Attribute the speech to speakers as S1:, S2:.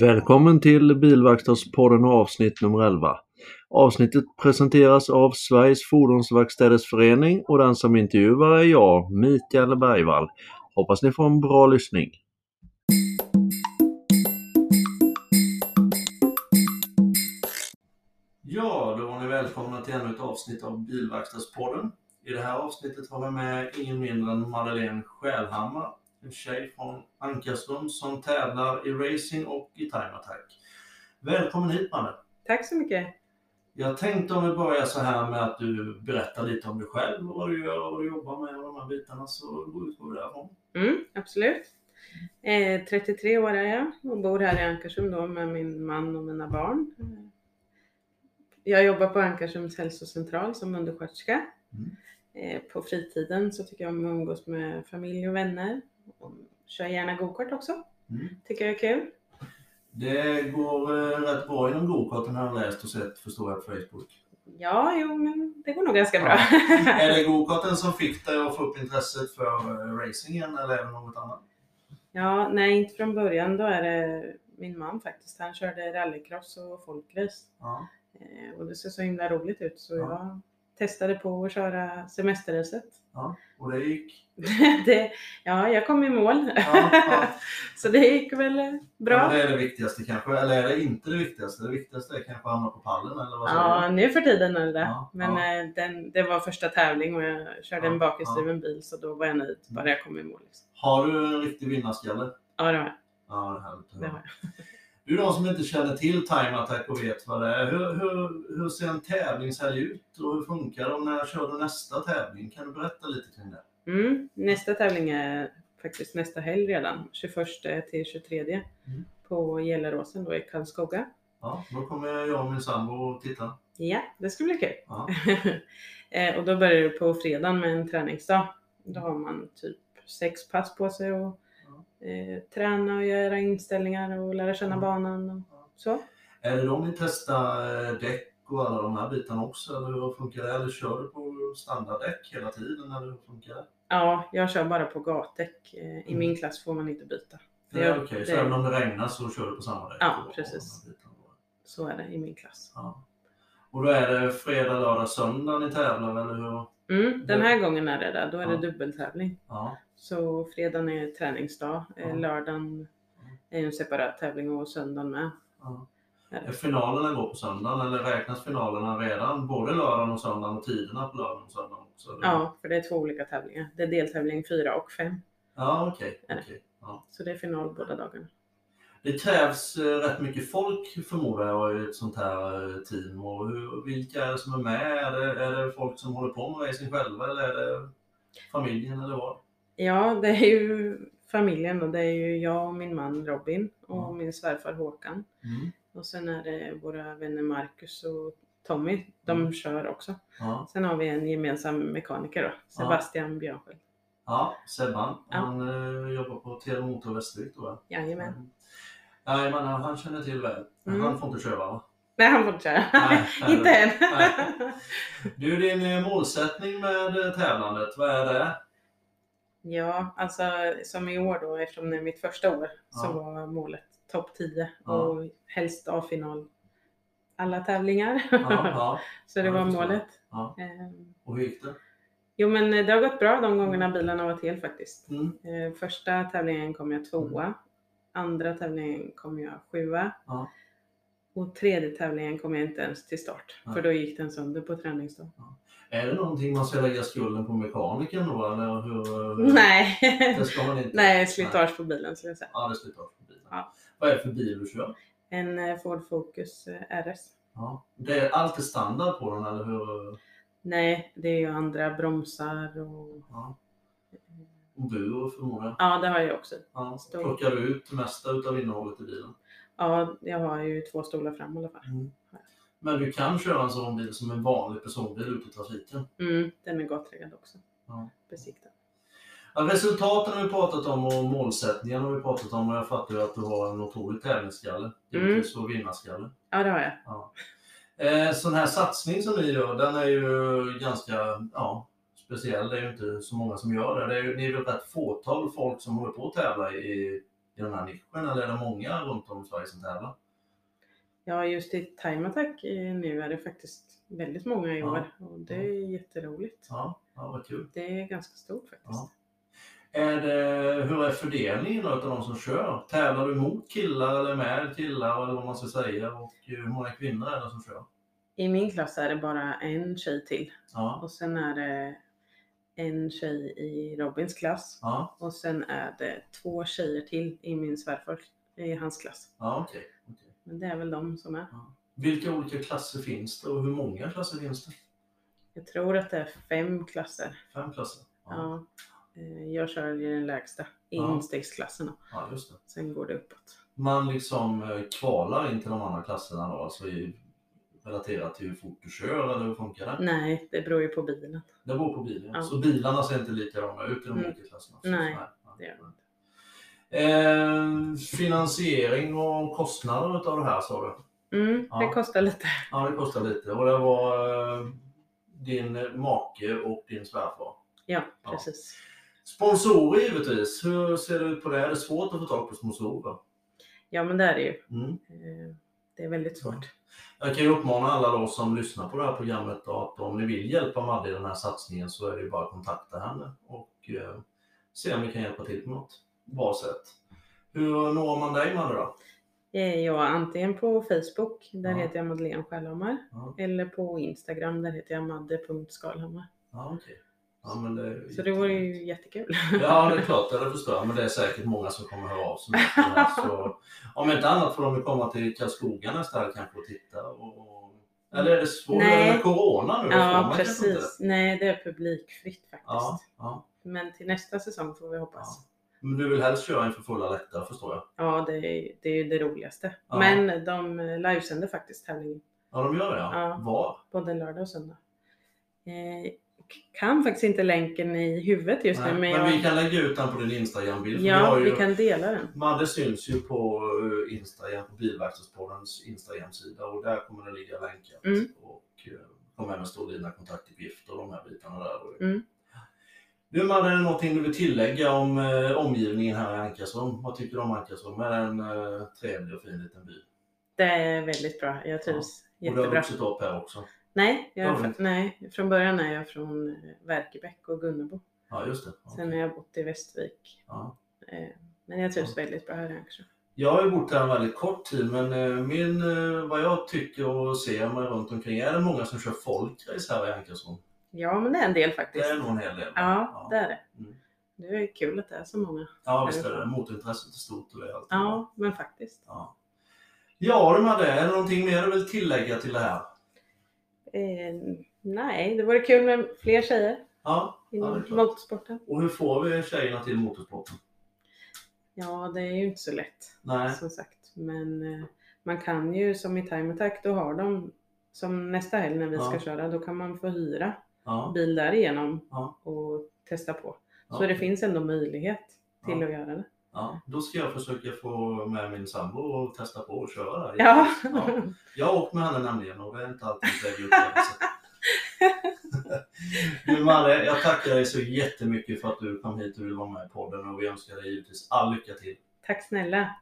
S1: Välkommen till Bilverkstadspodden och avsnitt nummer 11. Avsnittet presenteras av Sveriges Fordonsverkstäders Förening och den som intervjuar är jag, Mikael Bergvall. Hoppas ni får en bra lyssning. Ja, då var ni välkomna till ännu ett avsnitt av Bilverkstadspodden. I det här avsnittet har vi med ingen mindre än Madeleine Skälhammar en tjej från Ankarström som tävlar i racing och i time attack. Välkommen hit Manne!
S2: Tack så mycket!
S1: Jag tänkte om vi börjar så här med att du berättar lite om dig själv, vad du gör och vad du jobbar med och de här bitarna så utgår vi därifrån.
S2: Mm, absolut. Eh, 33 år är jag och bor här i Ankarsum då med min man och mina barn. Jag jobbar på Ankarsums hälsocentral som undersköterska.
S1: Mm.
S2: Eh, på fritiden så tycker jag om att umgås med familj och vänner. Och kör gärna gokart också.
S1: Mm.
S2: Tycker jag är kul.
S1: Det går eh, rätt bra inom gokarten har jag läst och sett förstår jag på Facebook.
S2: Ja, jo, men det går nog ganska bra.
S1: är det gokarten som fick dig att få upp intresset för eh, racingen eller är det något annat?
S2: Ja, nej, inte från början. Då är det min man faktiskt. Han körde rallycross och folkrace.
S1: Ja.
S2: Eh, Och det ser så himla roligt ut så
S1: Ja.
S2: jag testade på att köra semesterracet.
S1: Och det gick?
S2: Det- Ja, jag kom i mål.
S1: Ja, ja.
S2: Så det gick väl eh,
S1: Ja,
S2: bra.
S1: Det är det viktigaste kanske, eller är det inte det viktigaste? Det viktigaste är kanske att hamna på pallen eller vad säger
S2: Ja,
S1: du?
S2: nu för tiden är det det.
S1: Ja,
S2: Men eh, den, det var första tävling och jag körde
S1: Ja, Mm.
S2: en bakhjulsdriven bil så då var jag nöjd bara jag kom i mål. Liksom.
S1: Har du en riktig vinnarskalle?
S2: Ja, det var jag.
S1: Ja, det är härligt. att
S2: Det
S1: höra.
S2: har
S1: Du är de som inte känner till Time Attack och vet vad det är. Hur, hur, hur ser en tävlingshelg ut och hur funkar det? Och när kör du nästa tävling? Kan du berätta lite kring det?
S2: jag. Mm. Nästa tävling är faktiskt nästa helg redan, 21 till 23
S1: Mm.
S2: på Gelleråsen då i Karlskoga.
S1: Ja, då kommer jag och min sambo och titta.
S2: Ja, det ska bli kul.
S1: Ja.
S2: Eh, och då börjar det på fredagen med en träningsdag. Då har man typ sex pass på sig och eh, träna och göra inställningar och lära känna
S1: Ja.
S2: banan
S1: Ja.
S2: och så.
S1: Är det då ni testar eh, däck och alla de här bitarna också? Eller hur funkar det? Eller kör du på standarddäck hela tiden? Eller hur funkar det?
S2: Ja, jag kör bara på gatdäck. Eh, I
S1: Mm.
S2: min klass får man inte byta.
S1: Det är okej, så
S2: det-
S1: även om det regnar så kör du på samma däck?
S2: Ja,
S1: och-
S2: precis.
S1: och de bitarna då?
S2: Så är det i min klass.
S1: Ja. Och då är det fredag, lördag, söndag ni tävlar eller hur?
S2: Mm, den
S1: Ja.
S2: här gången är det där. Då är
S1: Ja.
S2: det dubbeltävling.
S1: Ja.
S2: Så fredagen är träningsdag. Eh,
S1: Ja.
S2: Lördagen är ju en separat tävling och söndagen med.
S1: ja. Är Finalerna går på söndagen eller räknas finalerna redan både lördagen och söndagen och tiderna på lördagen och söndagen också? eller?
S2: Ja, för det är två olika tävlingar. Det är deltävling 4 och 5.
S1: Ja, okej.
S2: Är det.
S1: okej, ja.
S2: Så det är final båda dagarna.
S1: Det krävs eh, rätt mycket folk förmodar jag i ett sånt här eh, team. Och hur, vilka är det som är med? Är det, är det folk som håller på med racing själva eller är det familjen eller vad?
S2: Ja, det är ju familjen och det är ju jag och min man Robin och
S1: Ja.
S2: min svärfar Håkan.
S1: Mm.
S2: Och sen är det våra vänner Marcus och Tommy. De
S1: Mm.
S2: kör också.
S1: Ja.
S2: Sen har vi en gemensam mekaniker då, Sebastian Björnsköld.
S1: ja, Sebban.
S2: Ja.
S1: Han eh, jobbar på Tele Motor Västervik tror jag.
S2: Jajamän.
S1: Mm. Nej, men han han känner till väl.
S2: Mm.
S1: Han får inte köra va?
S2: Nej, han får inte köra.
S1: Nej,
S2: inte än.
S1: Nej. Du, din eh, målsättning med eh, tävlandet, vad är det?
S2: ja, alltså som i år då, eftersom det är mitt första år,
S1: Ja.
S2: så var målet topp 10
S1: Ja.
S2: och helst A-final alla tävlingar.
S1: Ja, ja.
S2: så det
S1: Ja,
S2: var
S1: jag förstår.
S2: målet.
S1: Ja.
S2: Ehm,
S1: Och hur gick det?
S2: Jo men eh, det har gått bra de gångerna bilen har varit hel faktiskt.
S1: Mm.
S2: Eh, Första tävlingen kom jag tvåa. Andra tävlingen kom jag sjua.
S1: Ja.
S2: Och tredje tävlingen kom jag inte ens till start.
S1: Nej.
S2: För då gick den sönder på träningsdagen.
S1: Är det någonting man ska lägga skulden på mekanikern då? Eller hur, eh, hur?
S2: Nej.
S1: Det ska man inte.
S2: Nej, slitage på bilen skulle jag säga.
S1: Ja, det ska ta för bilen.
S2: Ja.
S1: Vad är det för bil du kör?
S2: En eh, Ford Focus eh, RS.
S1: Ja. Det är alltid standard på den, eller hur?
S2: Nej, det är ju andra bromsar och...
S1: Ja. Och bur förmodar jag.
S2: Ja, det har jag också.
S1: Ja.
S2: Stor.
S1: Plockar du ut det mesta av innehållet i bilen?
S2: Ja, jag har ju två stolar fram i alla fall.
S1: Men du kan köra en sån bil som en vanlig personbil ute i trafiken.
S2: Mm, den är gatreggad också.
S1: Ja.
S2: Besiktad.
S1: Ja, resultaten har vi pratat om och målsättningen har vi pratat om och jag fattar ju att du har en otrolig tävlingsskalle. Givetvis och vinnarskalle.
S2: Ja, det har jag.
S1: Eh, sån här satsning som ni gör, den är ju ganska ja, speciell. Det är ju inte så många som gör det. det är ju, ni är väl rätt fåtal folk som håller på att tävla i, i i den här nischen eller är det många runt om i Sverige som tävlar?
S2: Ja, just i Time Attack eh, nu är det faktiskt väldigt många i
S1: Ja.
S2: år och det är jätteroligt.
S1: Ja, ja vad kul.
S2: Det är ganska stort faktiskt.
S1: Ja. Är det, hur är fördelningen då utav de som kör? Tävlar du mot killar eller med killar eller vad man ska säga? Och eh, hur många kvinnor är det som kör?
S2: I min klass är det bara en tjej till
S1: Ja,
S2: och sen är det en tjej i Robins klass
S1: ja,
S2: och sen är det två tjejer till i min svärfar i hans klass.
S1: ja okej. okej.
S2: Men det är väl de som är.
S1: Vilka olika klasser finns det och hur många klasser finns det?
S2: Jag tror att det är fem klasser.
S1: Fem klasser?
S2: Ja. Eh, Jag kör i den lägsta, i
S1: Ja.
S2: instegsklasserna.
S1: ja just det.
S2: Sen går det uppåt.
S1: man liksom eh, kvalar in till de andra klasserna då, alltså i, relaterat till hur fort du kör eller hur funkar det?
S2: Nej, det beror ju på bilen.
S1: Det beror på bilen.
S2: Ja.
S1: Så bilarna ser inte likadana ut i de
S2: Mm.
S1: olika klasserna.
S2: Nej,
S1: Så-
S2: det gör de
S1: Eh, finansiering och kostnader utav det här sa du?
S2: Mm,
S1: Ja.
S2: Det kostar lite.
S1: Ja, det kostar lite. Och det var eh, din make och din svärfar.
S2: Ja,
S1: Ja.
S2: precis.
S1: Sponsorer givetvis. Hur ser det ut på det? Är det svårt att få tag på sponsorer?
S2: Ja, men det är det ju.
S1: Mm.
S2: Eh, Det är väldigt svårt.
S1: Jag kan ju uppmana alla då som lyssnar på det här programmet att om ni vill hjälpa Madde i den här satsningen så är det ju bara att kontakta henne och eh, se om vi kan hjälpa till på något bra sätt. Hur når man dig Madde då?
S2: Eh, Jag är antingen på Facebook, där
S1: Ja.
S2: heter jag Madeleine Skärlhammar,
S1: Ja.
S2: eller på Instagram, där heter jag madde.skalhammar.
S1: Ja, okej. Ja, men det är
S2: Så det vore ju jättekul.
S1: Ja, det är klart, ja, det förstår jag. Men det är säkert många som kommer höra av sig. med det här, Så, om inte annat får de ju komma till Karlskoga nästa helg kanske och titta. Och, och, eller är det svårt
S2: Nej.
S1: med corona nu? Då får
S2: Ja,
S1: man kanske inte.
S2: precis. Nej, det är publikfritt faktiskt.
S1: Ja, ja.
S2: Men till nästa säsong får vi hoppas.
S1: Men du vill helst köra inför fulla läktare förstår jag.
S2: Ja, det, är, det är ju det roligaste.
S1: Ja.
S2: Men de eh, livesänder faktiskt tävlingen,
S1: Ja, de gör det ja.
S2: Ja.
S1: Var?
S2: både lördag och söndag. Eh, kan faktiskt inte länken i huvudet just
S1: Nej,
S2: nu,
S1: men
S2: men, jag,
S1: vi kan lägga ut den på din Instagram-bild. för vi
S2: ja,
S1: har
S2: vi
S1: ju,
S2: kan dela den.
S1: Madde syns ju på eh, Instagram, på Bilverkstadspoddens Instagram-sida och där kommer det ligga länkat.
S2: Mm.
S1: Och eh, kommer även stå dina kontaktuppgifter och de här bitarna där.
S2: Mm.
S1: Du Madde, är det någonting du vill tillägga om eh, omgivningen här i Ankarsholm? Vad tycker du om Ankarsholm? Är det en eh, trevlig och fin liten by?
S2: Det är väldigt bra. Jag trivs
S1: Och du har
S2: jättebra.
S1: vuxit upp här också?
S2: Nej, jag,
S1: Ja,
S2: är fra-
S1: men-
S2: nej, från början är jag från eh, Verkebäck och Gunnebo.
S1: Ja, just det. Okej.
S2: Sen har jag bott i Västvik.
S1: Ja.
S2: Eh, Men jag trivs väldigt bra här i Ankarshamn.
S1: Jag har ju bott här en väldigt kort tid, men eh, min, eh, vad jag tycker och ser mig runt omkring, är det många som kör folkrace här i Ankarsholm?
S2: Ja, men det är en del
S1: Det
S2: faktiskt.
S1: är nog en hel del.
S2: Ja, det är det.
S1: Mm.
S2: Det är kul att det är så många.
S1: ja visst är det. Motintresset är stort och det är alltid bra.
S2: Ja, men faktiskt.
S1: Ja. Ja, du Madde, är det någonting mer du vill tillägga till det här?
S2: Eh, nej, det vore kul med fler tjejer
S1: Ja, det är
S2: inom
S1: klart.
S2: motorsporten.
S1: och hur får vi tjejerna till motorsporten?
S2: Ja, det är ju inte så lätt
S1: Nej,
S2: som sagt. Men eh, man kan ju som i Time Attack, då har de som nästa helg när vi
S1: Ja.
S2: ska köra, då kan man få hyra
S1: ja.
S2: bil därigenom
S1: Ja.
S2: och testa på.
S1: ja.
S2: Så det finns ändå möjlighet till
S1: Ja.
S2: att göra det.
S1: Ja, då ska jag försöka få med min sambo och testa på att köra där.
S2: Ja.
S1: Ja. Jag har åkt med henne nämligen och det är inte alltid en trevlig upplevelse. Du Marre, jag tackar dig så jättemycket för att du kom hit och ville vara med i podden och vi önskar dig givetvis all lycka till.
S2: Tack snälla.